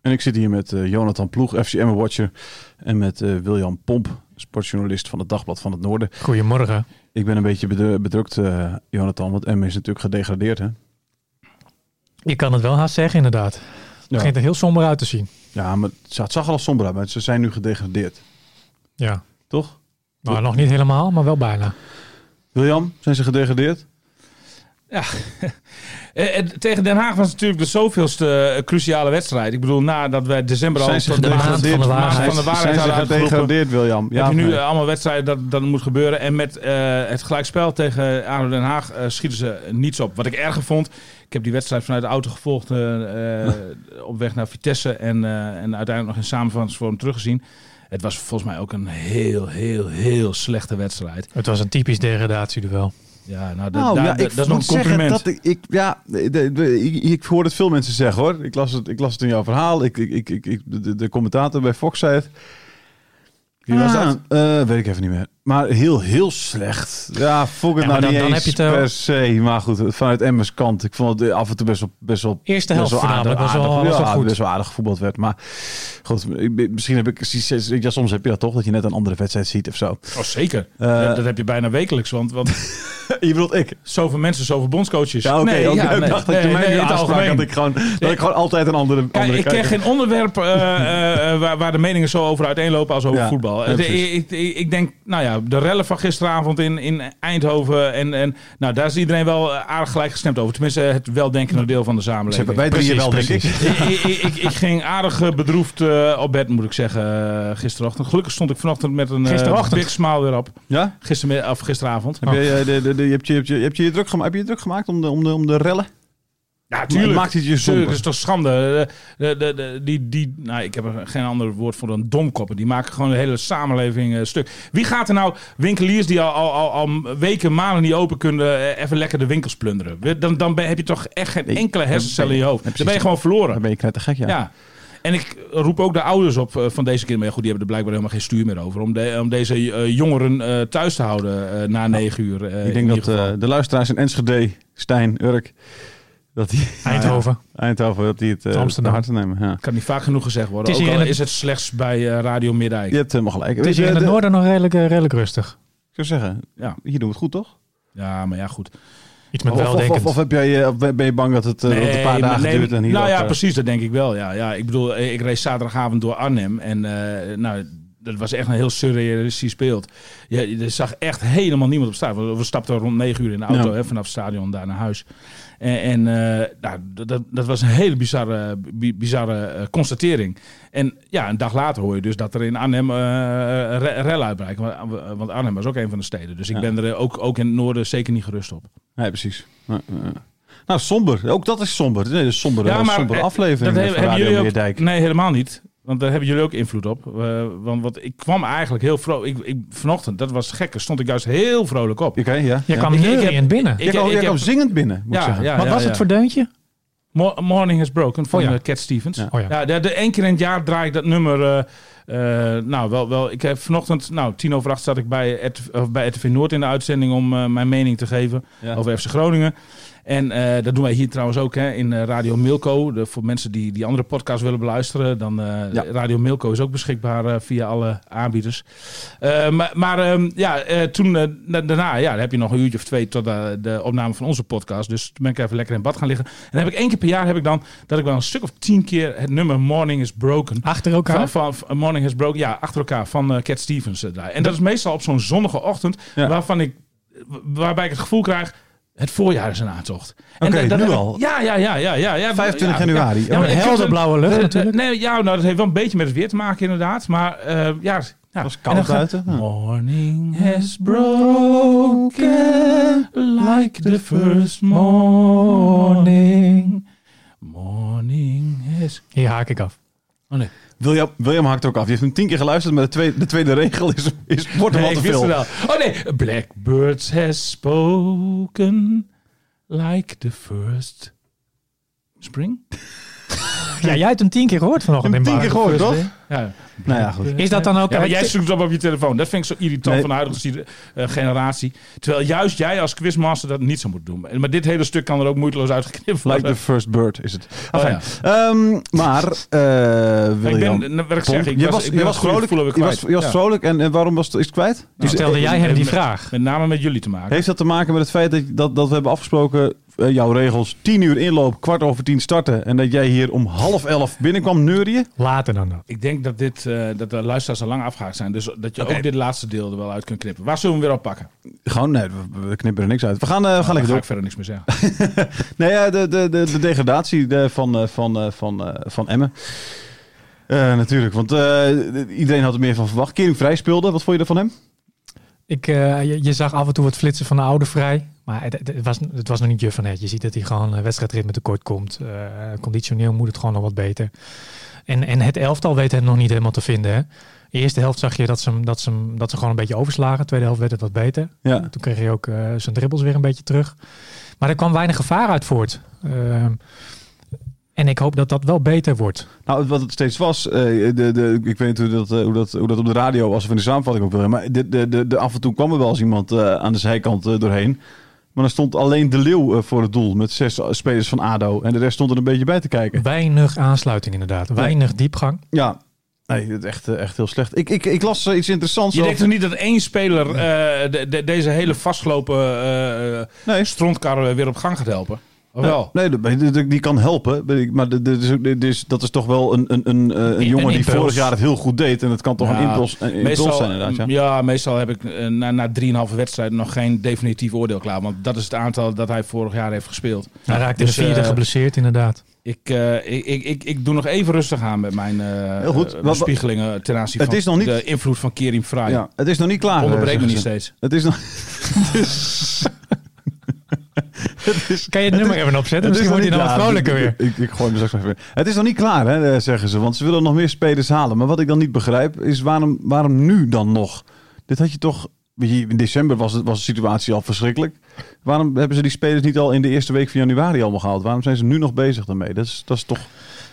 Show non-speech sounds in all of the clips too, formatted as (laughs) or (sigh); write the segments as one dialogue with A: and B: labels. A: En ik zit hier met eh, Jonathan Ploeg, FCM-watcher. En met eh, William Pomp, sportjournalist van het Dagblad van het Noorden.
B: Goedemorgen.
A: Ik ben een beetje bedru- bedrukt, eh, Jonathan, want M is natuurlijk gedegradeerd. Hè?
B: Je kan het wel haast zeggen, inderdaad. Het begint er heel somber uit te zien.
A: ja, maar het zag het zag er al somber uit, maar ze zijn nu gedegradeerd.
B: Ja.
A: Toch?
B: Nou, nog niet helemaal, maar wel bijna.
A: William, zijn ze gedegradeerd?
C: Eh, eh, tegen Den Haag was het natuurlijk de zoveelste eh, cruciale wedstrijd. Ik bedoel, nadat wij december al
A: zijn ze
C: tot de maand
A: gedegradeerd?
B: van de waarheid.
C: van de waarheid
A: zijn ze
C: hadden uitgeroepen.
A: gedegradeerd, William? Ja,
C: heb je
A: of
C: nu
A: nee?
C: eh, allemaal wedstrijden dat dat moet gebeuren. En met eh, het gelijkspel tegen ADO Den Haag eh, schieten ze niets op. Wat ik erger vond, ik heb die wedstrijd vanuit de auto gevolgd eh, eh, (laughs) op weg naar Vitesse. En, eh, en uiteindelijk nog in samenvattingsvorm teruggezien. Het was volgens mij ook een heel, heel, heel slechte wedstrijd.
B: Het was een typisch degradatieduel.
C: Ja, nou, dat,
A: Nou,
C: daar-
A: ja,
C: dat-
A: ik moet
C: dat is nog een
A: zeggen
C: compliment.
A: Dat ik, ik, ja, de- de- ik, ik hoor het veel mensen zeggen hoor. Ik las het, ik las het in jouw verhaal. Ik, ik, ik, ik, ik- de, de commentator bij Fox zei het.
C: Wie was
A: Ah,
C: dat?
A: eh, weet ik even niet meer. Maar heel, heel slecht. Ja, vond ik het
B: Ja,
A: nou
B: maar dan-
A: niet
B: dan
A: eens
B: heb je het, eh,
A: per se. Maar goed, vanuit Emmers kant. Ik vond het af en toe best wel... Best wel
B: Eerste helft
A: best wel aardig,
B: voornamelijk was wel-
A: aardig-
B: was wel
A: ja, dus-
B: goed.
A: Best wel aardig gevoetbald werd. Maar goed, ik- misschien heb ik... Ja, soms heb je dat toch, dat je net een andere wedstrijd ziet of zo. (laughs)
C: Oh, zeker.
A: Eh,
C: dat, dat heb je bijna wekelijks. Want, want
A: Je bedoelt ik?
C: zoveel mensen, zoveel bondscoaches.
A: Ja, oké.
C: nee,
A: oké.
C: ja,
A: ik
C: nee,
A: dacht dat je
C: nee,
A: mij
C: nee,
A: nu
C: in het
A: aansprak
C: algemeen.
A: dat ik gewoon, dat ik gewoon altijd een andere, andere
C: Kijk, ik
A: kijker-
C: ken geen onderwerp eh, eh, waar, waar de meningen zo over uiteenlopen als over
A: Ja, ja,
C: voetbal. Eh, de-
A: precies.
C: ik, ik, ik denk, nou ja, de rellen van gisteravond in, in Eindhoven. En, en nou, daar is iedereen wel eh, aardig gelijk gestemd over. Tenminste, eh, het weldenkende deel van de
A: Ze
C: samenleving.
A: hebben wij drieën wel, denk
B: Precies,
A: ik.
C: ik, ik, ik, ik ging aardig eh, bedroefd eh, op bed, moet ik zeggen, eh, gisterochtend. Gelukkig stond ik vanochtend met een eh,
B: Gisterochtend?
C: big smile weer op.
A: Ja?
C: Gistermiddag, of gisteravond.
A: Heb je, eh, de, de, de, je hebt je, heb je, heb je, je druk gemaakt, heb je je druk gemaakt om de, om de, om de rellen?
C: Ja, tuurlijk.
A: Maakt het je
C: Tuurlijk,
A: somber?
C: dat is toch schande. De, de, de, de- die, die, nou, ik heb er geen ander woord voor dan domkoppen. Die maken gewoon de hele samenleving eh, stuk. Wie gaat er nou winkeliers die al, al, al, al weken, maanden niet open kunnen... eh, even lekker de winkels plunderen? We- Dan, dan ben- heb je toch echt geen
A: Nee,
C: enkele
A: dan
C: hersencel
A: ben
C: in
A: je-
C: je hoofd.
A: precies.
C: Dan ben je gewoon verloren.
A: Dan ben je knettergek, ja.
C: Ja. En ik roep ook de ouders op eh, van deze kinderen. Maar goed, die hebben er blijkbaar helemaal geen stuur meer over. Om, de- om deze eh, jongeren eh, thuis te houden eh, na negen uur. eh,
A: ik
C: in
A: denk
C: ieder
A: dat
C: geval.
A: eh, de luisteraars in Enschede, Stijn, Urk, dat die, (laughs)
B: Eindhoven.
A: Eindhoven, dat die het eh
B: Amsterdam.
A: te harte nemen. Ja.
C: kan niet vaak genoeg gezegd worden.
B: Het is
C: ook
B: hier
C: al
B: in het-
C: is het slechts bij eh, Radio Middijk.
A: Je hebt helemaal gelijk.
B: Het
A: Weet
B: is
A: je,
B: hier in het
A: de-
B: noorden nog redelijk, eh, redelijk rustig.
A: Ik zou zeggen,
C: Ja.
A: hier doen we het goed, toch?
C: Ja, maar ja, goed.
B: Iets met
A: Of, of, of,
B: weldenkend.
A: of heb jij, eh, of ben je bang dat het eh, dat het een paar
C: maar
A: dagen
C: nee,
A: duurt en hier
C: Nou
A: ook,
C: ja,
A: eh,
C: precies, dat denk ik wel. Ja, ja, ik bedoel, eh, ik race zaterdagavond door Arnhem en eh, nou, dat was echt een heel surrealistisch beeld. Je, je zag echt helemaal niemand op straat. We, we stapten rond 9 uur in de auto
A: Ja.
C: hè, vanaf het stadion daar naar huis. En, en eh, nou, dat, dat- dat was een hele bizarre, bi- bizarre eh, constatering. En ja, een dag later hoor je dus dat er in Arnhem eh re- rel uitbreekt. Want, want Arnhem was ook een van de steden. Dus ik
A: Ja.
C: ben er ook, ook in het noorden zeker niet gerust op.
A: Nee, precies. Nou, eh, nou, somber. Ook dat is somber. Nee, dat is sombere, sombere
C: eh,
A: aflevering
C: dat he-
A: van Radio
C: jullie ook-
A: Meerdijk.
C: Nee, helemaal niet. Want daar hebben jullie ook invloed op. Eh, want, want ik kwam eigenlijk heel vrolijk. Ik, ik, vanochtend, dat was het gekke, stond ik juist heel vrolijk op.
A: Oké, ja.
B: Je
A: ja.
B: kwam
C: Ik- ik
B: neuriënd
C: heb-
B: binnen.
A: Jij kwam, jij kwam zingend binnen, moet ik
C: ja,
A: zeggen.
C: ja,
B: Wat
C: ja,
B: was
C: ja.
B: het voor deuntje?
C: Mo- Morning Has Broken van
B: Oh ja.
C: eh, Cat Stevens.
A: Ja.
C: Ja.
B: Oh ja.
C: de, de, één keer in het jaar draai ik dat nummer. eh, eh, nou, wel, wel. Ik heb vanochtend, nou, tien over acht zat ik bij, RTV of bij RTV Noord in de uitzending om eh, mijn mening te geven
A: Ja.
C: over FC Groningen. En eh, dat doen wij hier trouwens ook hè, in eh, Radio Milko. De, voor mensen die die andere podcast willen beluisteren, dan eh,
A: Ja.
C: Radio Milko is ook beschikbaar eh, via alle aanbieders. Eh, maar maar ehm, ja, eh, toen eh, da- daarna ja, dan heb je nog een uurtje of twee tot eh, de opname van onze podcast. Dus toen ben ik even lekker in bad gaan liggen. En dan heb ik één keer per jaar heb ik dan dat ik wel een stuk of tien keer het nummer Morning is Broken.
B: Achter elkaar.
C: Van, van- van Morning Has Broken, ja, achter elkaar van eh, Cat Stevens eh, draaien. En dat is meestal op zo'n zonnige ochtend,
A: Ja.
C: waarvan ik, waarbij ik het gevoel krijg, het voorjaar is een aantocht. En
A: Oké,
C: dat- dat
A: nu
C: heb ik-
A: al?
C: Ja, ja, ja, ja, ja, ja.
A: 25
C: ja,
A: januari. Oh,
C: Ja, ja, maar ik vind
B: Helder
C: het-
B: blauwe
C: de-
B: lucht
C: de-
B: natuurlijk.
C: Nee, ja, nou, dat heeft wel een beetje met het weer te maken inderdaad, maar eh, ja. ja.
A: was
C: En dan
A: koud
C: gaat-
A: buiten. Ja.
C: Morning has broken like the first morning. Morning has...
B: Hier haak ik af.
C: Oh nee.
A: William, William hakt ook af. Die heeft hem tien keer geluisterd, maar de tweede, de tweede regel is, is wordt hem
C: Nee,
A: al te
C: ik wist
A: veel.
C: het al. Oh nee, Blackbirds has spoken like the first spring.
B: Ja, jij hebt hem tien keer gehoord vanochtend
A: Hem
B: in
A: tien
B: Baden.
A: keer gehoord, toch?
C: Ja.
A: Nou ja, goed.
B: Is dat dan ook...
C: Ja, maar jij zoekt het op op je telefoon. Dat vind ik zo irritant
A: Nee.
C: van de huidige eh, generatie. Terwijl juist jij als quizmaster dat niet zou moeten doen. Maar- Maar dit hele stuk kan er ook moeiteloos uitgeknipt
A: Like
C: worden.
A: the first bird is het.
C: Oh,
A: Enfin, ehm, maar, eh
C: Maar ik
A: William...
C: ben, nou, wat ik
A: Pomp,
C: zeg, ik
A: je
C: was,
A: was,
C: ik
A: je
C: ben
A: was
C: goede
A: vrolijk,
C: gevoel weer
A: je was, je was
C: kwijt. Ja. Nou,
A: vrolijk en, en waarom was het, is het kwijt?
B: Toen Nou,
A: Dus-
B: stelde jij
A: eh,
B: hem die vraag.
C: Met name met jullie te maken.
A: Heeft dat te maken met het feit dat, dat, dat we hebben afgesproken, eh, jouw regels, tien uur inloop, kwart over tien starten. En dat jij hier om half elf binnenkwam neurien?
B: Later dan dat.
C: Ik denk dat, dit, eh, dat de luisteraars al lang afgehaakt zijn. Dus dat je
A: Oké.
C: ook dit laatste deel er wel uit kunt knippen. Waar zullen we hem weer op pakken?
A: Gewoon, nee, we, we knippen er niks uit. We gaan, eh, we gaan lekker
C: Dan ga
A: door.
C: ik verder niks meer zeggen.
A: Nee, ja, de, de, de, de degradatie eh, van, eh, van, eh, van, eh, van Emmen. Eh, natuurlijk, want eh, iedereen had er meer van verwacht. Kering vrij speelde, wat vond je ervan hem?
B: Ik, eh, je, je zag af en toe wat flitsen van de oude vrij. Maar het, het- het was, het was nog niet juf van het. Je ziet dat hij gewoon eh, wedstrijdritme tekort komt. Eh, conditioneel moet het gewoon nog wat beter. En, en het elftal weet het nog niet helemaal te vinden. Hè? De eerste helft zag je dat ze, hem- dat, ze, hem- dat ze gewoon een beetje overslagen. De tweede helft werd het wat beter.
A: Ja.
B: Toen kreeg hij ook eh, zijn dribbles weer een beetje terug. Maar er kwam weinig gevaar uit voort. Ehm, en ik hoop dat dat wel beter wordt.
A: Nou, wat het steeds was, eh, de, de, ik weet niet hoe dat, eh, hoe, dat, hoe dat op de radio was of in de samenvatting ook wel. Maar de, de, de, de- af en toe kwam er wel eens iemand eh, aan de zijkant eh, doorheen. Maar dan stond alleen De Leeuw eh, voor het doel met zes spelers van ADO. En de rest stond er een beetje bij te kijken.
B: Weinig aansluiting inderdaad. Weinig diepgang.
A: Ja, nee, dat is echt, eh, echt heel slecht. Ik, ik, ik las eh, iets interessants.
C: Je
A: over-
C: denkt toch niet dat één speler eh, de, de- deze hele vastgelopen eh, eh,
A: Nee.
C: strontkar weer op gang gaat helpen? Of wel?
A: Nee, de- de- de- die kan helpen. weet ik, Maar de- de- de- de- dus dat is toch wel een, een, een, eh, een
B: Een
A: jongen die
B: impuls.
A: vorig jaar het heel goed deed. En dat kan toch
C: Ja,
A: een impuls, een impuls zijn inderdaad. Ja.
C: meestal heb ik eh, na, na 3,5 wedstrijden nog geen definitief oordeel klaar. Want dat is het aantal dat hij vorig jaar heeft gespeeld.
B: Hij raakte
C: Dus,
B: de vierde
C: eh,
B: geblesseerd inderdaad.
C: Ik, eh, ik, ik, ik, ik doe nog even rustig aan met mijn eh
A: Heel goed. Wat-
C: eh, bespiegelingen ten aanzien
A: Het
C: van
A: is nog niet-
C: de invloed van Kerim Fraai.
A: Ja, het is nog niet klaar. eh,
C: Onderbreek me
A: zeggen
C: niet
A: ze.
C: steeds.
A: Het is nog... het is...
B: Dus Kan je het nummer even opzetten?
A: Het is
B: Misschien
A: nog
B: wordt hij
A: niet
B: dan wat
A: klaar.
B: vrolijker weer.
A: Ik, ik, ik gooi hem straks even weer. Het is nog niet klaar, hè, eh, zeggen ze. Want ze willen nog meer spelers halen. Maar wat ik dan niet begrijp, is waarom, waarom nu dan nog? Dit had je toch... weet je, In december was, het, was de situatie al verschrikkelijk. Waarom hebben ze die spelers niet al in de eerste week van januari allemaal gehaald? Waarom zijn ze nu nog bezig daarmee? Dat is, dat is toch...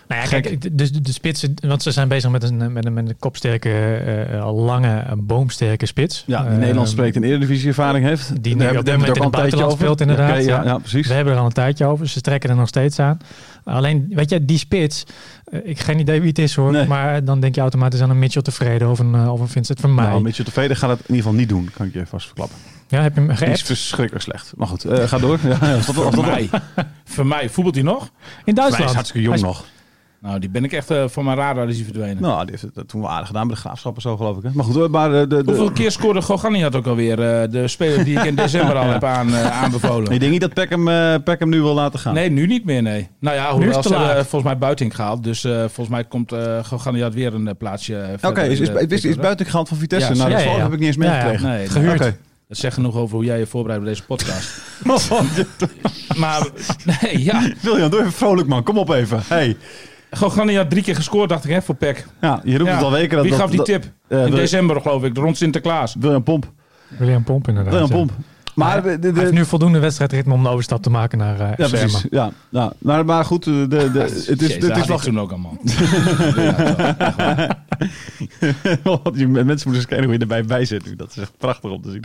B: Nou ja, kijk, de, de, de spitsen, want ze zijn bezig met een, met een, met een kopsterke, eh, eh, lange, eh, boomsterke spits.
A: Ja, die
B: Eh,
A: Nederland spreekt en eredivisie ervaring heeft. Daar
B: nu
A: hebben- daar
B: op dit
A: hebben we
B: moment
A: het
B: in
A: ook
B: het
A: al een tijdje
B: buitenland speelt,
A: over.
B: inderdaad,
A: Ja, ja, precies.
B: We hebben er al een tijdje over. Ze trekken er nog steeds aan. Alleen, weet je, die spits. eh, ik heb geen idee wie het is hoor.
A: Nee.
B: Maar dan denk je automatisch aan een Mitchell tevreden of een, eh, of een Vincent van Meij.
A: Nou, met je tevreden gaat het in ieder geval niet doen, kan ik je vast verklappen.
B: ja, heb je hem
A: Die is
B: geappt?
A: verschrikkelijk slecht. Maar goed, eh, ga
B: (laughs)
A: door. Ja, ja, stop,
C: Voor mij. Voor mij. Voetbalt hij nog?
B: In
A: Hij
B: Duitsland.
A: is hartstikke jong
B: Hij
A: nog.
C: Nou, die ben ik echt eh, van mijn radar is hij verdwenen.
A: Nou, die heeft het eh, toen wel aardig gedaan bij de graafschap en zo, geloof ik. Hè? Maar goed, hoor, maar eh, de, de,
C: Hoeveel keer scoorde Gogani had ook alweer? eh, de speler die ik in december
A: (laughs)
C: al heb aan, eh, aanbevolen.
A: ik denk niet dat Peckham, eh, Peckham nu wil laten gaan.
C: Nee, nu niet meer, nee. Nou ja,
B: Nu is
C: hoewel
B: het
C: ze
B: te laat.
C: hebben, eh, volgens mij buiting gehaald. Dus eh, volgens mij komt eh Gogani had weer een eh, plaatsje eh,
A: Oké,
C: verder in
A: is, is,
C: de
A: is, is
C: picture.
A: buiten gehaald van Vitesse.
C: Ja,
A: nou, dat
B: ja,
A: val
B: ja.
A: heb ik niet eens
B: Ja, ja.
A: meegekregen.
C: Nee, nee.
B: Gehuurd.
A: Oké.
C: Dat zegt genoeg over hoe jij je voorbereidt bij deze podcast. (laughs) maar, nee, ja.
A: William, doe even vrolijk, man. Kom op even. Hey.
C: Gogani had drie keer gescoord, dacht ik, hè, voor PEC.
A: Ja, je roept
C: Ja.
A: het al weken. Dat,
C: Wie
A: dat-
C: gaf die
A: dat-
C: tip?
A: eh,
C: in
A: Wil-
C: december, geloof ik, rond Sinterklaas.
A: William Pomp.
B: is- William Pomp inderdaad.
A: William
B: ja.
A: Pomp. Maar...
B: Hij-
A: de- de-
B: Hij heeft nu voldoende wedstrijdritme om de overstap te maken naar eh
A: ja,
B: FCM.
A: precies. Ja, ja. Maar, maar goed, eh, de, de, het is,
C: (laughs) Jezus,
A: het
C: dat
A: is
C: had ik
A: (laughs) wel...
C: toen ook allemaal. Ja, toch, echt waar.
A: (laughs) Want je- Mensen moeten eens kijken hoe je erbij bij zit. nu. Dat is echt prachtig om te zien.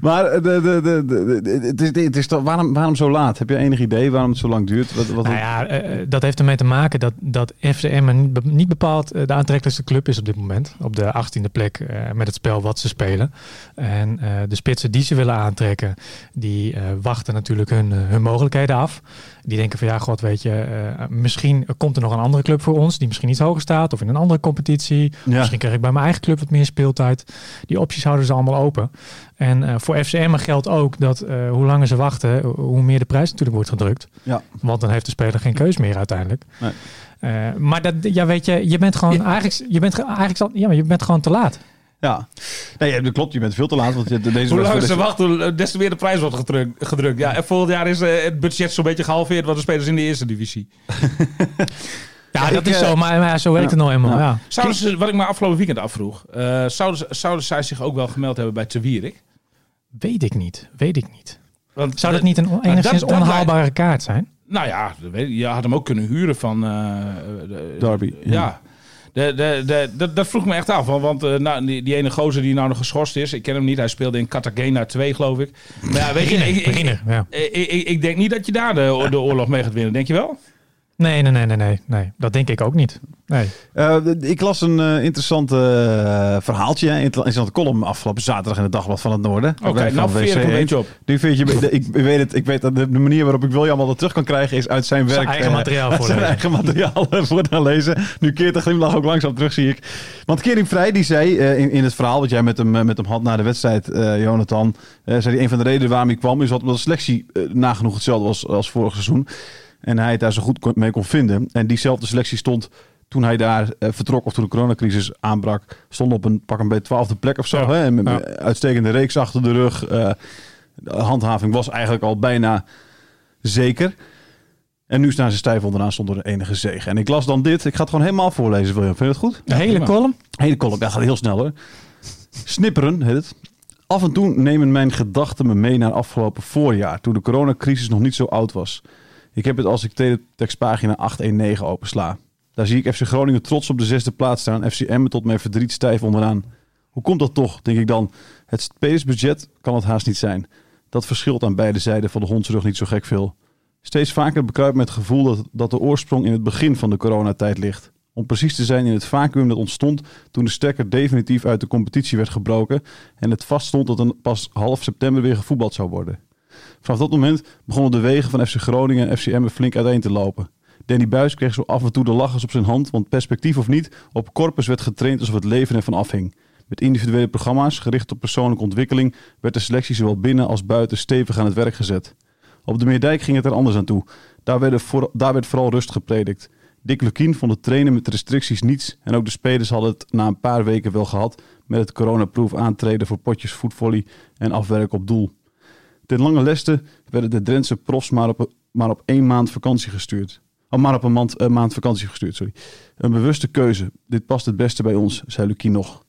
A: Maar eh, de, de, de, de- de- het is, het is toch, waarom, waarom zo laat? Heb je enig idee waarom het zo lang duurt? Wat, wat,
B: Nou ja, eh, eh, dat heeft ermee te maken dat, dat FCM een be- niet bepaald eh, de aantrekkelijkste club is op dit moment. Op de 18e plek eh, met het spel wat ze spelen. En eh, de spitsen die ze willen aantrekken, die eh, wachten natuurlijk hun, eh, hun mogelijkheden af. Die denken van ja, god weet je, eh, misschien komt er nog een andere club voor ons die misschien iets hoger staat. Of in een andere competitie.
A: Ja.
B: Misschien krijg ik bij mijn eigen club wat meer speeltijd. Die opties houden ze allemaal open. En eh, voor FCM geldt ook dat eh, hoe langer ze wachten, hoe meer de prijs natuurlijk wordt gedrukt.
A: Ja.
B: Want dan heeft de speler geen keus meer uiteindelijk.
A: Nee.
B: Eh, maar dat, ja, weet je, je bent gewoon eigenlijk, je bent ge- eigenlijk, al- ja, maar je bent gewoon te laat.
A: ja. Nee, dat klopt. Je bent veel te laat. Want je, deze
C: Hoe langer
A: wedstrijd
C: ze
A: is-
C: wachten, hoe- des te meer de prijs wordt gedrukt. gedrukt. Ja, en volgend jaar is eh, het budget zo'n beetje gehalveerd wat de spelers in de eerste divisie.
B: Ja,
A: Ja,
B: dat
A: ik,
B: is
A: eh,
B: zo, maar, maar ja, zo werkt het nou eenmaal.
A: ja.
B: Ja.
C: Zouden ze, wat ik me afgelopen weekend afvroeg, eh, zouden, ze- zouden zij zich ook wel gemeld hebben bij Te Wierik?
B: Weet ik niet, weet ik niet.
C: Want
B: Zou dat
C: de-
B: niet een on-
C: dat-
B: enigszins
C: dat lijkt-
B: onhaalbare kaart zijn?
C: Nou ja, dat weet ik. je had hem ook kunnen huren van... eh, de-
A: Derby.
C: Ja. De, de, de, de- dat vroeg me echt af. Want, want, eh, nou, die, die ene gozer die nou nog geschorst is. Ik ken hem niet. Hij speelde in Cartagena 2, geloof ik. Maar ja, weet je, ik, ik,
B: Beginner, ja.
C: ik, ik- ik denk niet dat je daar de, de oorlog mee gaat winnen. Denk je wel?
B: Nee, nee, nee, nee, nee, nee. Dat denk ik ook niet. Nee.
A: Eh, d- ik las een eh, interessant eh, verhaaltje. hè, Inter- Interessante column afgelopen zaterdag in het Dagblad van het Noorden.
C: Oké,
A: Wij van E.
C: nou veer ik
A: WC1.
C: een beetje op.
A: Nu vind je, de- ik weet het, ik weet dat de de manier waarop ik William altijd terug kan krijgen is uit zijn werk.
B: eigen
A: eh,
B: materiaal
A: uit zijn
B: voorlezen.
A: eigen materiaal (laughs) eh, voor te lezen. Nu keert de glimlach ook langzaam terug, zie ik. Want Kering Vrij, die zei eh, in, in het verhaal wat jij met hem, eh, met hem had na de wedstrijd, eh, Jonathan. eh, zei hij een van de redenen waarom hij kwam is dat omdat de selectie eh, nagenoeg hetzelfde was als vorig seizoen. En hij het daar zo goed kon- mee kon vinden. En diezelfde selectie stond toen hij daar eh, vertrok of toen de coronacrisis aanbrak. Stond op een pak een beetje twaalfde plek of zo.
B: Ja,
A: Hè? En met-
B: ja.
A: Uitstekende reeks achter de rug. eh, de handhaving was eigenlijk al bijna zeker. En nu staan ze stijf onderaan zonder de enige zege. En ik las dan dit. Ik ga het gewoon helemaal voorlezen, William. Vind je het goed?
B: De hele
C: prima.
B: column?
A: Hele kolom, dat gaat heel snel hoor. Snipperen heet het. Af en toe nemen mijn gedachten me mee naar afgelopen voorjaar, toen de coronacrisis nog niet zo oud was. Ik heb het als ik teletextpagina 819 opensla. Daar zie ik FC Groningen trots op de zesde plaats staan, FC Emmen tot mijn verdriet stijf onderaan. Hoe komt dat toch, denk ik dan? Het spelersbudget kan het haast niet zijn. Dat verschilt aan beide zijden van de hondsrug niet zo gek veel. Steeds vaker bekruipt met het gevoel dat, dat de oorsprong in het begin van de coronatijd ligt. Om precies te zijn in het vacuüm dat ontstond toen de stekker definitief uit de competitie werd gebroken en het vaststond dat er pas half september weer gevoetbald zou worden. Vanaf dat moment begonnen de wegen van FC Groningen en FC Emmen flink uiteen te lopen. Danny Buis kreeg zo af en toe de lachers op zijn hand, want perspectief of niet, op corpus werd getraind alsof het leven ervan afhing. Met individuele programma's, gericht op persoonlijke ontwikkeling, werd de selectie zowel binnen als buiten stevig aan het werk gezet. Op de Meerdijk ging het er anders aan toe. Daar, werden voor- daar werd vooral rust gepredikt. Dick Lukien vond het trainen met restricties niets. En ook de spelers hadden het na een paar weken wel gehad. Met het coronaproof aantreden voor potjes voetvolley en afwerken op doel. Ten lange leste werden de Drentse profs maar op, maar op één maand vakantie gestuurd. Oh, maar op een maand, een maand vakantie gestuurd, sorry. Een bewuste keuze. Dit past het beste bij ons, zei Lukien nog.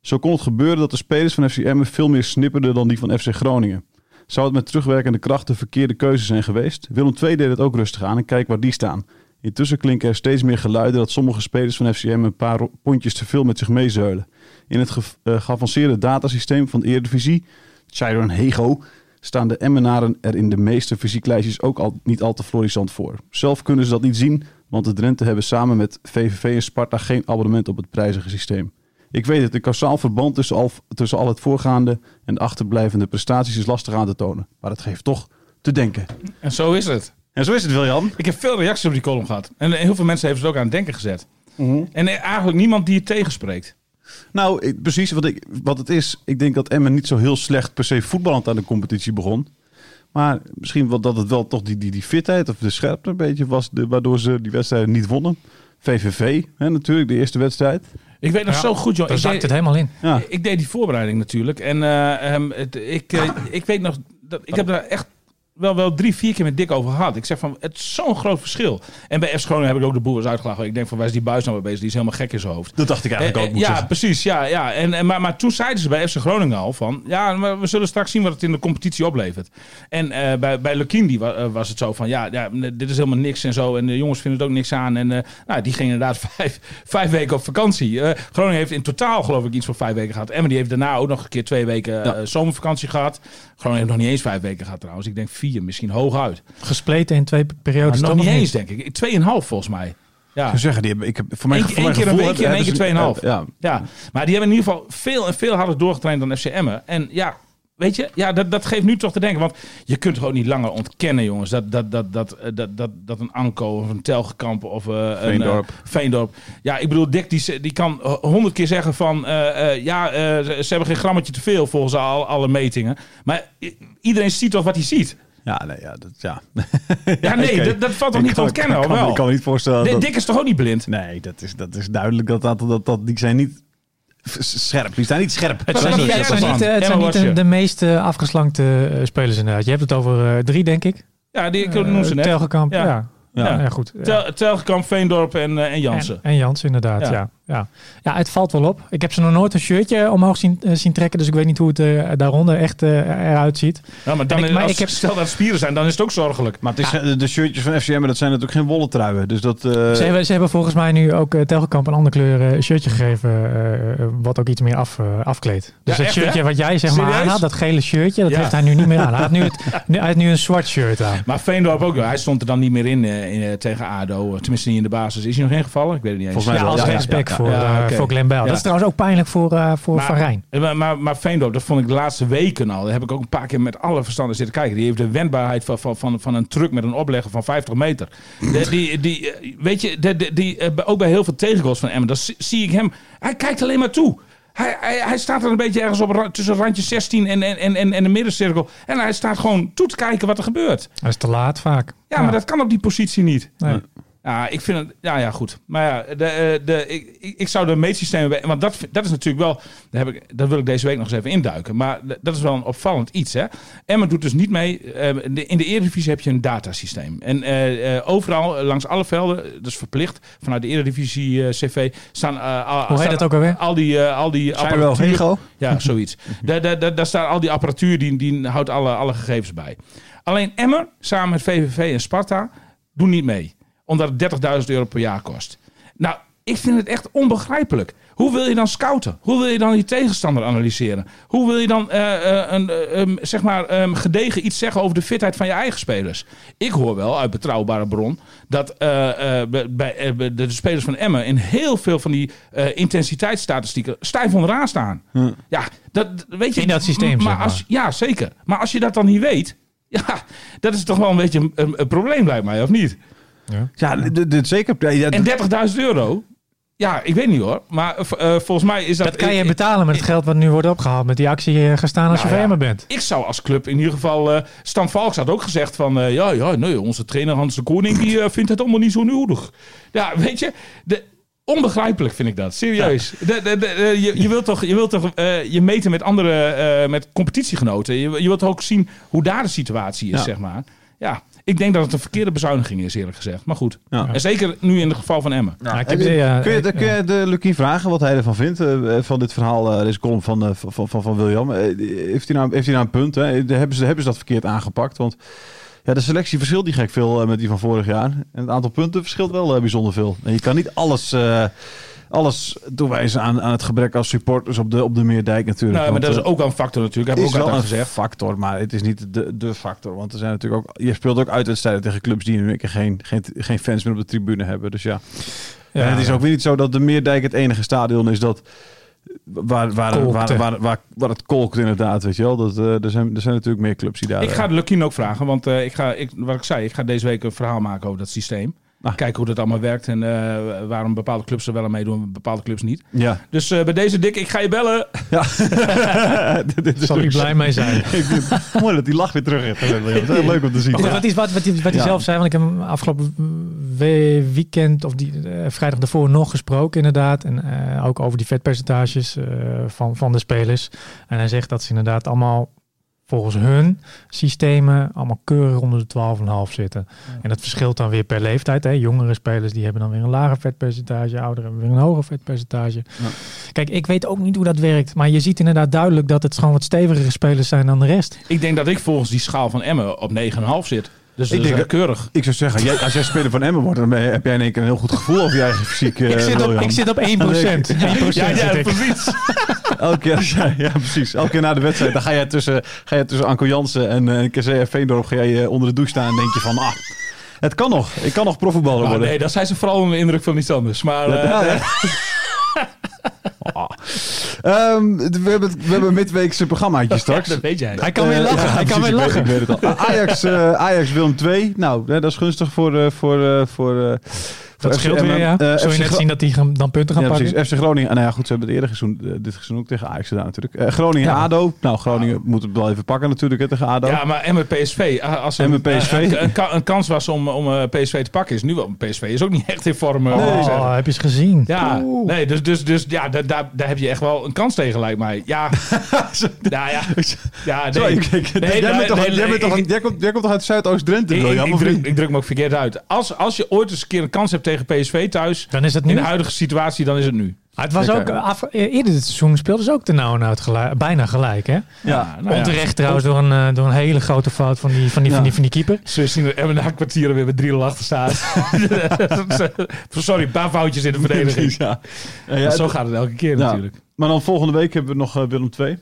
A: Zo kon het gebeuren dat de spelers van FC Emmen veel meer snipperden dan die van FC Groningen. Zou het met terugwerkende kracht de verkeerde keuze zijn geweest? Willem II deed het ook rustig aan en kijk waar die staan. Intussen klinken er steeds meer geluiden dat sommige spelers van FCM een paar ro- pondjes te veel met zich meezeulen. In het ge- eh, geavanceerde datasysteem van de Eredivisie, Chiron Hego, staan de Emmenaren er in de meeste fysieklijstjes ook al, niet al te florissant voor. Zelf kunnen ze dat niet zien, want de Drenthe hebben samen met VVV en Sparta geen abonnement op het prijzige systeem. Ik weet het, een kausaal verband tussen al, tussen al het voorgaande en de achterblijvende prestaties is lastig aan te tonen. Maar het geeft toch te denken.
C: En zo is het.
A: En zo is het, William.
C: Ik heb veel reacties op die column gehad. En heel veel mensen hebben ze het ook aan het denken gezet. En eh, eigenlijk niemand die het tegenspreekt.
A: Nou, ik- precies wat, ik, wat het is. Ik denk dat Emmen niet zo heel slecht per se voetballend aan de competitie begon. Maar misschien wel dat het wel toch die, die, die fitheid of de scherpte een beetje was... de- waardoor ze die wedstrijden niet wonnen. VVV, hè, natuurlijk, de eerste wedstrijd.
C: Ik weet nog
B: Ja,
C: zo goed, joh.
B: Daar
C: Ik
B: zakt
C: deed-
B: het helemaal in.
A: Ja.
C: Ik deed die voorbereiding natuurlijk. En eh, ehm, het, ik, eh, ik weet nog. Dat, ik heb daar echt wel, wel drie, vier keer met Dick over gehad. Ik zeg van, het is zo'n groot verschil. En bij FC Groningen heb ik ook de boers uitgelachen. Ik denk van, waar is die buis nou mee bezig? Die is helemaal gek in zijn hoofd.
A: Dat dacht ik eigenlijk
C: Eh,
A: ook.
C: eh,
A: Moet
C: ja,
A: zeggen.
C: precies. Ja, ja. En, en, maar, maar toen zeiden ze bij FC Groningen al van... Ja, maar we zullen straks zien wat het in de competitie oplevert. En eh, bij, bij Lukindi wa- eh, was het zo van... Ja, ja, n- dit is helemaal niks en zo. En de jongens vinden het ook niks aan. En eh, nou, die gingen inderdaad (laughs) vijf, vijf weken op vakantie. Eh, Groningen heeft in totaal geloof ik iets van vijf weken gehad. Emma die heeft daarna ook nog een keer twee weken eh, zomervakantie gehad. Groningen heeft nog niet eens vijf weken gehad trouwens. Ik denk vier, misschien hooguit.
B: Gespleten in twee
C: Maar
B: periodes.
C: nog
B: toch
C: niet eens, denk ik. Tweeënhalf volgens mij. Ja.
A: Ik zou zeggen, die hebben, ik heb voor mijn
C: Eén-
A: voor mijn
C: één keer een
A: gevoel
C: weekje en
A: hebben-
C: één keer
A: hebben ze-
C: 2,5.
A: Ja,
C: Ja, maar die hebben in ieder geval veel en veel harder doorgetraind dan FC Emmen. En ja, weet je, ja, dat, dat geeft nu toch te denken. Want je kunt gewoon niet langer ontkennen, jongens. Dat, dat, dat, dat, eh, dat, dat, dat een Anko of een Telgekamp of eh, een
A: Veendorp.
C: eh, Veendorp. Ja, ik bedoel, Dick die, z- die kan h- honderd keer zeggen van... eh, eh, ja, eh, ze, ze hebben geen grammetje te veel volgens al, alle metingen. Maar i- iedereen ziet toch wat hij ziet?
A: ja, nee, ja, dat, (laughs) ja. (laughs)
C: Ja, nee,
A: oké.
C: dat, dat valt toch
A: Ik
C: niet te
A: kan-
C: ontkennen,
A: ik
C: of
A: kan,
C: wel?
A: Ik kan me niet voorstellen.
C: Dick-
A: dat-
C: Dick is toch ook niet blind?
A: nee, dat is, dat is duidelijk. Dat, dat, dat, dat, die zijn niet f- scherp. Die zijn niet scherp.
C: Het
B: Het
C: zijn
B: zijn
C: niet-
B: niet,
C: het zijn
B: eh, het zijn
C: Emma
B: niet
C: was
B: de,
C: je.
B: de meest eh, afgeslankte eh, spelers inderdaad. Je hebt het over eh, drie, denk ik.
C: Ja, die, ik noem ze
B: Eh,
C: net.
B: Telgekamp,
C: Ja.
B: ja. Ja,
C: Ja.
B: ja, goed. Ja.
C: Tel, Telgekamp, Veendorp en, eh, en Jansen.
B: En, en Jansen, inderdaad.
C: Ja.
B: Ja. Ja. Ja. het valt wel op. Ik heb ze nog nooit een shirtje omhoog zien, eh, zien trekken. Dus ik weet niet hoe het eh, daaronder echt eh, eruit ziet.
C: Ja, maar dan,
B: En ik- maar
C: als,
B: ik heb-
C: stel dat het spieren zijn, dan is het ook zorgelijk.
A: Maar het is, eh, de shirtjes van FCM, dat zijn natuurlijk geen wollen truien. Dus dat... eh,
B: Ze hebben, ze hebben volgens mij nu ook eh, Telgekamp een ander kleur eh, shirtje gegeven. eh, eh, wat ook iets meer af, eh, afkleedt. Dus
C: Ja,
B: dat
C: echt,
B: shirtje
C: hè?
B: wat jij zeg maar
C: Serieus?
B: aanhaalt, dat gele shirtje, dat
C: Ja.
B: heeft hij nu niet meer aan. Hij heeft nu,
C: (laughs)
B: het, nu- hij heeft nu een zwart shirt aan.
C: Maar Veendorp ook. Hij stond er dan niet meer in, eh, in eh, tegen ADO. Tenminste niet in de basis. Is hij nog ingevallen? Ik weet het niet eens.
A: Volgens mij wel.
B: Ja, als
A: Ja, ja,
B: respect
A: ja, ja.
B: Voor,
C: Ja,
B: eh,
C: oké.
B: voor Glenn Bell.
C: Ja.
B: Dat is trouwens ook pijnlijk voor, eh, voor Van Rijn.
C: Eh, Maar, maar, maar Veendorp, dat vond ik de laatste weken al. Daar heb ik ook een paar keer met alle verstanden zitten kijken. Die heeft de wendbaarheid van, van, van, van een truck met een oplegger van 50 meter. De- die, die, eh, weet je, de- de- die, eh, bij- ook bij heel veel tegengoals van Emmen, dan zie, zie ik hem. Hij kijkt alleen maar toe. Hij, hij, hij staat er een beetje ergens op ra- tussen randje 16 en, en, en- en, en de middencirkel. En hij staat gewoon toe te kijken wat er gebeurt.
B: Dat is te laat vaak.
C: Ja, maar dat kan op die positie niet.
B: Nee.
C: Ja, ik vind het... Ja, ja, goed. Maar ja, de, eh, de, ik, ik- ik zou de meetsystemen... bij- Want dat, dat is natuurlijk wel... Daar heb ik, dat wil ik deze week nog eens even induiken. Maar d- dat is wel een opvallend iets, hè. Emmen doet dus niet mee... eh, de- in de Eredivisie heb je een datasysteem. En eh, eh, overal, eh, langs alle velden... Dat is verplicht. Vanuit de Eredivisie eh, CV staan... eh, al,
B: Hoe heet
C: staan
B: dat ook alweer?
C: Al die, eh, al die
A: Zijn we wel
C: apparatuur-
A: Hego?
C: ja, zoiets. daar, daar, daar, daar staat al die apparatuur, die, die houdt alle, alle gegevens bij. Alleen Emmer, samen met VVV en Sparta, doen niet mee. Omdat het 30.000 euro per jaar kost. Nou, ik vind het echt onbegrijpelijk. Hoe wil je dan scouten? Hoe wil je dan je tegenstander analyseren? Hoe wil je dan eh, eh, een, eh, ehm, zeg maar, ehm, gedegen iets zeggen over de fitheid van je eigen spelers? Ik hoor wel uit betrouwbare bron dat eh, eh, bij- bij, eh, bij de spelers van Emmen in heel veel van die eh, intensiteitsstatistieken stijf onderaan staan. Ja, dat weet je.
B: In dat systeem,
C: maar
B: zeg maar.
C: Als, ja, zeker. Maar als je dat dan niet weet, (laughs) ja, dat is toch wel een beetje een, een- een probleem, lijkt mij, of niet?
A: Ja, dit, dit zeker. Ja, ja,
C: En 30.000 euro. Ja, ik weet niet hoor. Maar eh, eh, volgens mij is dat.
B: Dat kan je
C: ik-
B: betalen met het geld wat nu wordt opgehaald. Met die actie eh, gestaan als
C: Nou
B: je
C: ja.
B: VM'er bent.
C: Ik zou als club in ieder geval. eh Stan Valks had ook gezegd van. eh, ja, ja, nee, onze trainer Hans de Koning die, eh, vindt het allemaal niet zo nodig. Ja, weet je. De, onbegrijpelijk vind ik dat. Serieus. De, de, de, de- je, je wilt toch, je, wilt toch eh, je meten met andere. eh, met competitiegenoten. Je, je wilt toch ook zien hoe daar de situatie is,
A: Ja.
C: zeg maar. Ja. Ik denk dat het een verkeerde bezuiniging is, eerlijk gezegd. Maar goed.
A: Ja.
C: En zeker nu in het geval van Emmen.
B: Ja, ik
A: Nou, Heb
B: heb
A: je-
B: die, eh,
A: kun, je,
B: ik-
A: kun je de Lukien vragen wat hij ervan vindt? eh, van dit verhaal, eh, deze column van, eh, van, van, van William. Eh, heeft, hij nou, heeft hij nou een punt? Hè? Hebben, ze, hebben ze dat verkeerd aangepakt? Want ja, de selectie verschilt niet gek veel eh, met die van vorig jaar. En het aantal punten verschilt wel eh, bijzonder veel. En je kan niet alles, eh alles toewijzen aan, aan het gebrek als supporters op de, op de Meerdijk natuurlijk.
C: Nou, maar
A: Want,
C: dat is
A: eh,
C: ook wel een factor natuurlijk. Heb ik
A: is
C: ook
A: wel
C: altijd
A: een
C: gezegd.
A: factor, maar het is niet de, de factor. Want er zijn natuurlijk ook, je speelt ook uitwedstrijden tegen clubs die nu een keer geen, geen, geen fans meer op de tribune hebben. Dus ja.
B: ja,
A: en het is ook weer niet zo dat de Meerdijk het enige stadion is dat. Waar, waar,
B: Kolkte.
A: waar, waar, waar, waar het kolkt inderdaad, weet je wel. Dat, eh, er, zijn, er zijn natuurlijk meer clubs die daar...
C: Ik ga de Lukien ook vragen, want eh, ik ga, ik, wat ik zei, ik ga deze week een verhaal maken over dat systeem.
A: Ah.
C: Kijken hoe dat allemaal werkt en eh, waarom bepaalde clubs er wel aan meedoen en bepaalde clubs niet.
B: (laughs)
A: Ja.
C: Dus eh, bij deze dik, ik ga je bellen.
A: ja. Dit- dit
B: Daar
A: is
B: zal hij blij mee zijn.
A: (laughs) Ik vind het Mooi dat die lach weer terug is. Dat is leuk om te zien.
B: Maar goed, dat is wat, wat, hij- wat hij
A: Ja.
B: zelf zei. Want ik heb hem afgelopen we- weekend of die, eh, vrijdag daarvoor nog gesproken inderdaad. En eh, ook over die vetpercentages eh, van, van de spelers. En hij zegt dat ze inderdaad allemaal volgens hun systemen allemaal keurig onder de 12,5 zitten. En dat verschilt dan weer per leeftijd. Hè. Jongere spelers die hebben dan weer een lager vetpercentage, ouderen hebben weer een hoger vetpercentage. Kijk, ik weet ook niet hoe dat werkt, maar je ziet inderdaad duidelijk dat het gewoon wat stevigere spelers zijn dan de rest.
C: Ik denk dat ik volgens die schaal van Emmen op 9,5 zit. Dus dat
A: denk
C: is wel
A: dat-
C: keurig.
A: Ik zou zeggen, jij, als jij speler van Emmen wordt, dan ben je- heb jij in één keer een heel goed gevoel over je eigen fysiek. eh,
B: ik, zit op,
A: William.
B: ik zit op 1%. 1%
A: (laughs)
B: zit ik. (laughs)
C: precies.
A: Elke keer, als jij- ja, precies. Elke keer na de wedstrijd, dan ga jij tussen, ga jij tussen Anko Jansen en eh Kersea Veendorp ga jij, eh, onder de douche staan en denk je van, ah, het kan nog. Ik kan nog
B: Nou,
A: profvoetballer
C: Maar
A: worden.
C: nee, dat zijn ze vooral onder de indruk van iets anders. Maar eh, (laughs)
A: Ja, ja. Ah. Ehm, we, hebben, het- we hebben midweekse programmaatje straks.
C: dat weet jij.
B: Hij kan weer
A: Eh,
B: lachen,
A: ja,
B: hij kan
A: precies,
B: weer
A: ik weet-
B: lachen.
A: ik weet het al. Ajax, eh Ajax Willem 2. Nou, hè, dat is gunstig voor, eh, voor, eh, voor, eh, voor
B: Dat
A: FC
B: scheelt weer,
A: Emmen.
B: ja.
A: Eh,
B: Zul je
A: FC
B: net
A: Gro-
B: zien dat die gaan- dan punten gaan
A: ja,
B: pakken?
A: precies. FC Groningen. Ah, nou ja, goed, ze hebben het eerder gezoen, eh, dit seizoen ook tegen Ajax gedaan natuurlijk. Eh, Groningen
B: Ja.
A: ADO. Nou, Groningen moet het wel even pakken natuurlijk hè, tegen ADO.
C: Ja, maar Emmen PSV. ah, Als er
A: Emmen PSV.
C: Een, een, ka- een kans was om, om eh, PSV te pakken, is nu wel. PSV is ook niet echt in vorm. eh, moet ik zeggen.
B: Oh, heb je eens gezien?
C: Ja, nee, dus, dus, dus ja, daar, daar, daar heb je echt wel een kans tegen, lijkt mij. Ja,
A: (laughs)
C: nou ja. ja nee.
A: Zo, ik- ik-
C: Nee,
A: jij
C: nee,
A: bent toch-
C: nee,
A: jij
C: nee,
A: bent toch-
C: ik-
A: jij komt- jij komt toch uit Zuidoost-Drenthe?
C: Ik,
A: William,
C: ik- ik
A: of
C: druk,
A: niet?
C: ik druk me ook verkeerd uit. Als, als je ooit eens een keer een kans hebt tegen PSV thuis,
B: Dan is het
C: in
B: nu.
C: de huidige situatie, dan is het nu.
B: Ah, het was
A: Oké.
B: ook eh, af, eh, eerder dit seizoen speelden ze ook de nou en uit gelijk- bijna gelijk, hè?
A: Ja.
C: nou ja.
B: Onterecht trouwens door een, eh, door een hele grote fout van die, van die, van die,
A: Ja.
B: van die keeper.
C: Ze zien dat Emmen na een kwartier er weer met 3-0 achter
A: (laughs)
C: staat. (laughs) Sorry, een paar foutjes in de verdediging.
A: Precies, ja. Ja, ja,
C: Maar zo
A: het-
C: gaat het elke keer
A: Ja.
C: natuurlijk.
A: Maar dan volgende week hebben we nog eh, Willem 2.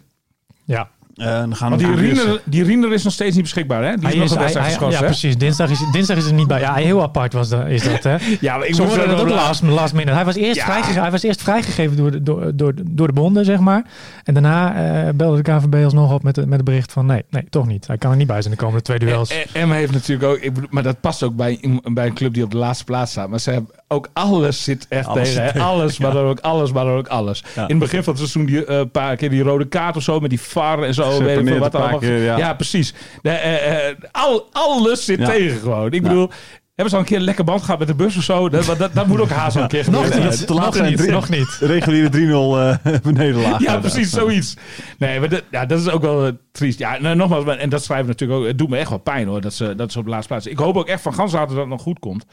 B: Ja,
A: dan gaan
C: Maar
A: we
C: die
A: natuurlijk eerst-
C: Riener, die Riener is nog steeds niet beschikbaar, hè? Die is
B: hij
C: nog
B: is,
C: een
B: hij,
C: wedstrijd
B: hij- ja
C: geschorst, hè?
B: precies. Dinsdag is, dinsdag is er niet bij. Ja, heel apart was dat, is (laughs) dat, hè?
C: Ja, maar ik
B: Ze
C: moet
B: hoorden
C: wel
B: dat ook
C: nog laat-
B: last, last minute. Hij was eerst,
C: Ja.
B: vrijgegeven, hij was eerst vrijgegeven door de, door, door, door de bonden, zeg maar. En daarna eh, belde de KVB alsnog op met, het- met het bericht van... nee, nee, toch niet. Hij kan er niet bij zijn de komende twee duels.
C: En- en Emma E- heeft natuurlijk ook, ik bedoel, maar dat past ook bij, een- bij een club die op de laatste plaats staat. Maar ze hebben ook alles zit echt
A: Alles
C: tegen.
A: zit
C: Hè? Alles, maar dan ook alles, maar dan ook alles.
A: Ja.
C: In het begin van het seizoen die eh, een paar keer die rode kaart of zo met die VAR en zo.
A: Ze
C: Weet ik
A: paneert
C: veel
A: een
C: wat
A: paar
C: allemaal.
A: keer, ja.
C: ja. precies. De, eh, eh, al, alles zit
A: Ja.
C: tegen gewoon. Ik bedoel. Hebben ze al een keer een lekker band gehad met de bus of zo? Dat, dat, dat moet ook haast al
A: (laughs)
C: een keer
B: nog
C: gebeuren.
B: niet,
A: dat ze te laat
B: nog
A: zijn.
B: niet,
A: Drie-
B: nog (laughs) niet.
A: reguliere
B: (laughs)
A: 3-0 eh nederlaag.
C: Ja, precies, zoiets. Nee, maar dat, ja, dat is ook wel eh, triest. Ja, nou, nogmaals, maar- en dat schrijft natuurlijk ook. Het doet me echt wel pijn hoor, dat ze, dat ze op de laatste plaats. Ik hoop ook echt van gans later dat het nog goed komt.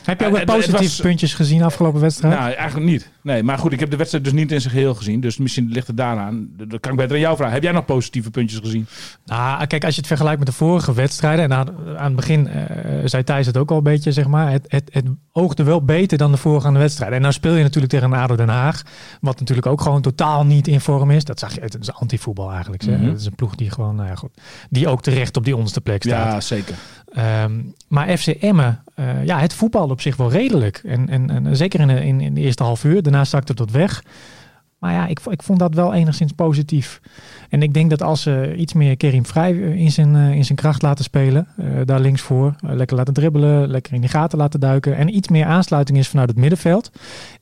B: Heb je ook wat
C: Het- het
B: positieve
C: was-
B: puntjes gezien afgelopen wedstrijd?
C: Nou, eigenlijk niet. Nee, maar goed, ik heb de wedstrijd dus niet in zijn geheel gezien. Dus misschien ligt het daaraan. Dat dat kan ik beter aan jou vragen. Heb jij nog positieve puntjes gezien?
B: Nou, kijk, als je het vergelijkt met de vorige wedstrijden. En aan, aan het begin eh, zei Thijs het ook al een beetje, zeg maar. Het, het, het oogde wel beter dan de voorgaande wedstrijden. En nou speel je natuurlijk tegen een ADO Den Haag. Wat natuurlijk ook gewoon totaal niet in vorm is. Dat zag je, het is antivoetbal eigenlijk. zeg.
C: Mhm.
B: Het is een ploeg die gewoon, nou ja, goed. Die ook terecht op die onderste plek staat.
C: zeker.
B: Ehm, maar FC Emmen, eh, ja, het voetbalde op zich wel redelijk. En, en, en zeker in de, in, in de eerste half uur. Daarna zakte het tot weg. Maar ja, ik, vo- ik vond dat wel enigszins positief. En ik denk dat als ze iets meer Kerim Vrij eh, in zijn, eh, in zijn kracht laten spelen, eh, daar links voor, eh, lekker laten dribbelen, lekker in die gaten laten duiken en iets meer aansluiting is vanuit het middenveld.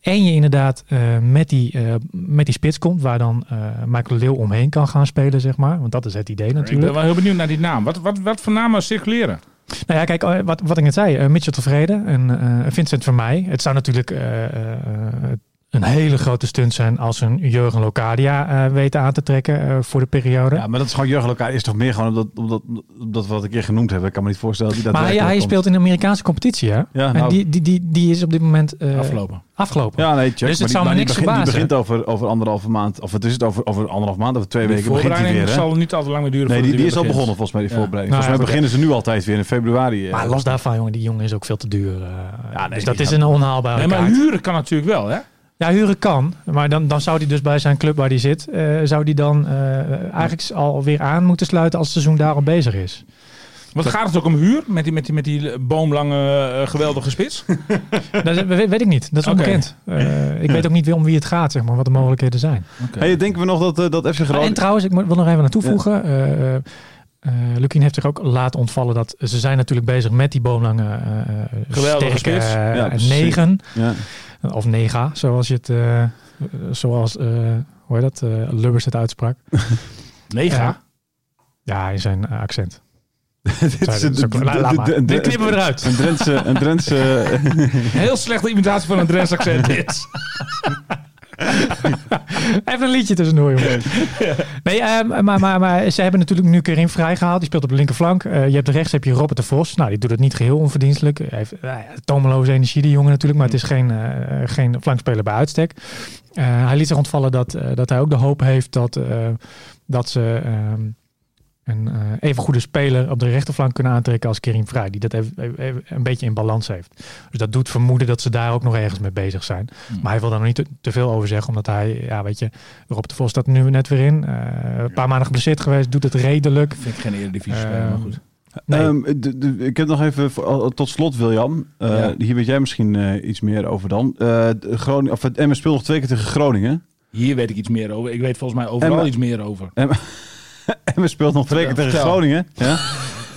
B: En je inderdaad eh, met, die, eh, met die spits komt, waar dan eh, Michael Leeuw omheen kan gaan spelen, zeg maar. Want dat is het idee natuurlijk.
C: Ik ben wel heel benieuwd naar die naam. Wat, wat, wat voor namen circuleren?
B: Nou ja, kijk, eh, wat, wat ik net zei, eh, Mitchell tevreden en eh, Vincent van mij. Het zou natuurlijk eh, eh, een hele grote stunt zijn als een Jurgen Locadia eh, weten aan te trekken eh, voor de periode.
A: Ja, maar dat is gewoon Jurgen elkaar is toch meer gewoon omdat, omdat, omdat we wat ik hier genoemd hebben. Ik kan me niet voorstellen dat hij dat
B: maar hij,
A: direct
B: hij
A: opkomt.
B: speelt in de Amerikaanse competitie, hè?
A: Ja,
B: En
A: nou-
B: die, die, die, die is op dit moment eh,
C: Afgelopen.
B: afgelopen.
A: Ja, nee, check.
B: Dus
A: maar
B: het
A: die-
B: zou me
A: maar die
B: niks
A: begint- Die
B: verbazen.
A: begint over, over anderhalve maand. Of het is het over, over anderhalf maand, over twee
C: De
A: weken begint hij
C: voorbereiding
A: weer. Hè?
C: zal niet al te lang meer duren.
A: Nee, die,
C: voordat
A: die
C: hij
A: is al
C: weer
A: begonnen
C: begint.
A: volgens mij, die
C: Ja.
A: voorbereiding.
B: Nou,
A: volgens mij
B: ja,
A: beginnen ze nu altijd weer in februari. eh.
B: Maar los daarvan, jongen, die jongen is ook veel te duur. eh.
A: nee,
B: dus
A: die
B: dat is
A: gaat-
B: een onhaalbare
C: Nee, maar
B: kaart.
C: huren kan natuurlijk wel, hè?
B: Ja, huren kan. Maar dan, dan zou hij dus bij zijn club waar hij zit, eh, zou die dan eh, eigenlijk alweer aan moeten sluiten als het seizoen daar al bezig is.
C: Want gaat het ook om huur? Met die, met die, met die boomlange, eh, geweldige spits?
B: Dat is- weet, weet ik niet. Dat is
C: Oké.
B: onbekend. Eh, ik weet ook niet weer om wie het gaat, zeg maar, wat de mogelijkheden zijn.
A: hey, denken we nog dat, eh, dat FC
B: Ah, en
A: Groningen...
B: trouwens, ik moet- wil nog even aan toevoegen. eh, eh, eh, Lukien heeft zich ook laten ontvallen dat ze zijn natuurlijk bezig met die boomlange eh, eh,
C: Geweldige
B: sterke
C: spits.
B: eh,
A: Ja, precies.
B: negen.
A: Ja. (laughs)
B: Of nega, zoals je het... eh, eh, zoals, eh, hoe heet dat? eh, Lubbers het uitsprak.
C: Nega.
B: Ja, in zijn eh, accent.
A: Dit is
B: Sorry, dat is ook- laat- laat maar.
A: een-
C: Eh,
B: Dit knippen we eruit.
A: Een Drentse... Een
B: (laughs)
A: Drentse (laughs)
C: Heel slechte imitatie van een Drents accent dit.
B: Even een liedje tussendoor, jongens. Nee, eh, maar, maar, maar ze hebben natuurlijk nu Kerin vrijgehaald. Die speelt op de linkerflank. Eh, je hebt rechts heb je Robert de Vos. Nou, die doet het niet geheel onverdienstelijk. Hij heeft nou ja, tomeloze energie, die jongen natuurlijk. Maar het is geen, eh, geen flankspeler bij uitstek. Eh, hij liet zich ontvallen dat, eh, dat hij ook de hoop heeft dat, eh, dat ze... ehm, een eh even goede speler op de rechterflank kunnen aantrekken als Kerim Vrij. Die dat even, even- een beetje in balans heeft. Dus dat doet vermoeden dat ze daar ook nog ergens mee bezig zijn. Maar hij wil daar nog niet te, te veel over zeggen. Omdat hij, ja weet je, Rob de Vos staat nu net weer in. Eh, een paar maanden geblesseerd geweest, doet het redelijk.
C: Vind ik geen Eredivisie
B: Ehm,
C: speler, maar goed.
B: Nee.
A: Ehm, d- d- ik heb nog even voor- al- tot slot, William. Eh,
C: Ja.
A: Hier weet jij misschien eh, iets meer over dan. Eh Groningen, of het Emmen speelt nog twee keer tegen Groningen. (laughs)
C: Hier weet ik iets meer over. Ik weet volgens mij overal
A: En-
C: iets meer over.
A: Emmen speelt nog twee keer tegen
C: Vertel.
A: Groningen. Ja?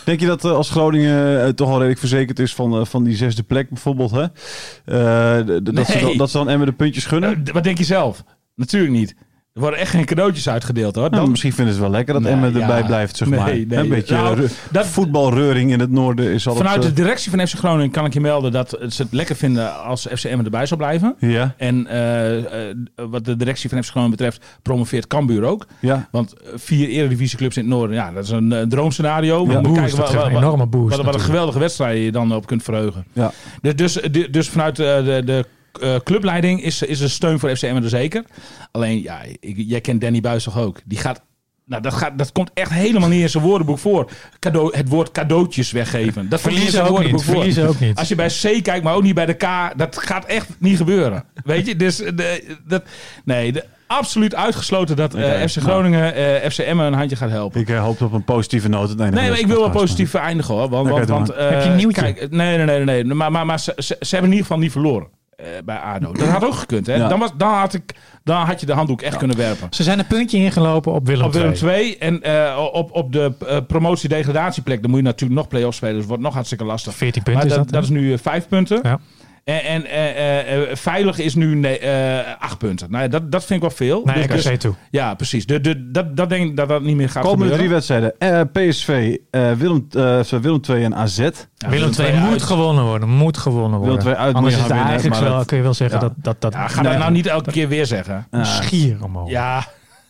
A: Denk je dat eh, als Groningen eh, toch al redelijk verzekerd is van, eh, van die zesde plek bijvoorbeeld, hè? Eh, d- d- dat, ze
C: Nee.
A: dan, dat ze dan Emmen de puntjes gunnen?
C: Eh, d- wat denk je zelf? Natuurlijk niet. Er worden echt geen cadeautjes uitgedeeld hoor.
A: Nou,
C: Dan,
A: misschien vinden ze het wel lekker dat
C: Nee,
A: Emmen
C: ja.
A: erbij blijft, zeg
C: Nee,
A: maar.
C: nee.
A: Een beetje
C: Nou,
A: ru-
C: dat-
A: voetbalreuring in het noorden is altijd...
C: vanuit
A: eh,
C: de directie van FC Groningen kan ik je melden dat ze het lekker vinden als FCM erbij zou blijven.
A: Ja,
C: En eh, eh, wat de directie van FC Groningen betreft, promoveert Cambuur ook.
A: ja.
C: Want eh, vier eredivisieclubs in het noorden, ja, dat is een eh, droomscenario.
B: Een
C: We moeten
B: boost,
C: kijken
B: dat
C: wat-
B: geeft een
C: wat-
B: enorme boost.
C: Wat, wat een
B: natuurlijk.
C: geweldige wedstrijd je dan op kunt verheugen.
A: Ja.
C: Dus, dus, dus vanuit eh, de, de eh, clubleiding is, is er steun voor FC Emmen er zeker. Alleen, ja, ik, jij kent Danny Buis toch ook? Die gaat... Nou, dat, gaat, dat komt echt helemaal niet in zijn woordenboek voor. Cadeau, het woord cadeautjes weggeven. Dat komt niet
B: Verliezen
C: in zijn
B: ook
C: woordenboek
B: niet.
C: voor.
B: Verliezen ook niet.
C: Als je bij C kijkt, maar ook niet bij de K, dat gaat echt niet gebeuren. Weet je, dus eh, de, dat, nee, de- absoluut uitgesloten dat eh,
A: Oké, nou.
C: FC Groningen eh FC Emmen een handje gaat helpen.
A: Ik eh, hoop op een positieve noot. het einde
C: Nee,
A: van
C: maar
A: deze
C: ik wil wel
A: podcast.
C: positief eindigen hoor. Want,
A: Oké,
C: want,
A: doe
C: want, eh,
B: Heb je een nieuwtje?
C: Kijk, nee, nee, nee, nee. nee. Maar, maar, maar ze, ze, ze hebben in ieder geval niet verloren eh, bij ADO. Dat had ook gekund. Hè?
A: Ja.
C: Dan, was, dan, had ik, dan had je de handdoek echt kunnen werpen.
B: Ze zijn een puntje ingelopen op Willem
C: Op Willem
B: II.
C: 2 en eh, op, op de eh, promotie-degradatieplek, dan moet je natuurlijk nog play-offs spelen. Dus het wordt nog hartstikke lastig.
B: 14 punten
C: maar
B: is
C: dat,
B: dat.
C: dat is nu eh, vijf punten.
B: Ja.
C: En, en eh, eh, eh, veilig is nu nee, eh, acht punten. Nou ja, dat, dat vind ik wel veel.
B: Naar
C: Dus- dus-
B: RKC toe.
C: ja, precies. De, de, dat, dat denk ik dat dat niet meer gaat
A: Komende drie
C: gebeuren.
A: wedstrijden. Eh, PSV, eh, Willem, eh, Willem 2 en Eh, AZ.
C: Ja,
B: Willem II
C: II
B: moet
C: uit.
B: gewonnen worden. Moet gewonnen worden.
A: Willem II uit
B: Anders
A: moet
B: is
A: je
B: het
A: gaan winnen,
B: eigenlijk
A: maar
B: wel,
A: dat-
B: kun je wel zeggen
A: ja.
B: dat... dat, dat
C: Ja, ga
B: nee,
C: dat nou niet elke keer weer zeggen.
A: Ah,
B: Schier omhoog.
C: Ja.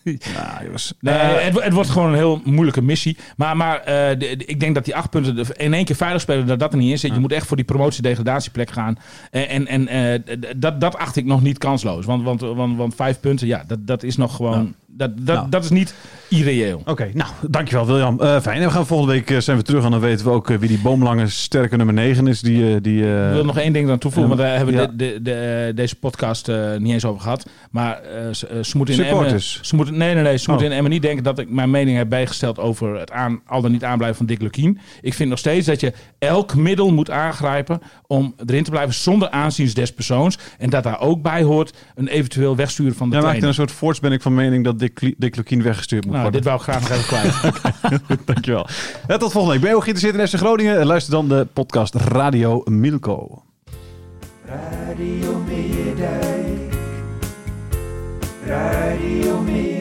A: ah, jongens.
C: Nee,
A: Eh,
C: het, wo- het wordt gewoon een heel moeilijke missie. Maar, maar eh, de- de- ik denk dat die acht punten de- in één keer veilig spelen, dat dat er niet in zit. Je moet echt voor die promotie-degradatieplek gaan. En, en, en eh, d- dat, dat acht ik nog niet kansloos. Want, want, want, want vijf punten, ja, dat, dat is nog gewoon. Dat, dat,
A: Nou.
C: dat is niet irreëel.
A: Oké, nou, dankjewel William. Eh, fijn, we gaan volgende week eh, zijn we terug en dan weten we ook eh, wie die boomlange sterke nummer 9 is. Die, eh, die, eh,
C: Ik wil nog één ding aan toevoegen,
A: ja,
C: want daar hebben we
A: ja.
C: de, de, de- eh, deze podcast eh, niet eens over gehad. Maar eh, ze, eh, ze moeten in
A: Supporters.
C: Emmen- ze moeten, nee, nee, nee. Ze moeten
A: Oh.
C: in Emmen niet denken dat ik mijn mening heb bijgesteld over het aan, al dan niet aanblijven van Dick Lukien. Ik vind nog steeds dat je elk middel moet aangrijpen om erin te blijven zonder aanzien des persoons. En dat daar ook bij hoort een eventueel wegsturen van de
A: Jij maakt
C: trainer.
A: een soort voorts ben ik van mening dat Dick, Kli- Dick Lukien weggestuurd moet
C: Nou,
A: worden.
C: dit wou ik graag nog even kwijt.
A: (laughs) Dankjewel. En tot volgende week. Ben je ook geïnteresseerd in FC Groningen? Eh, Luister dan de podcast Radio Milko.
D: Radio Meerdijk. Radio Meerdijk.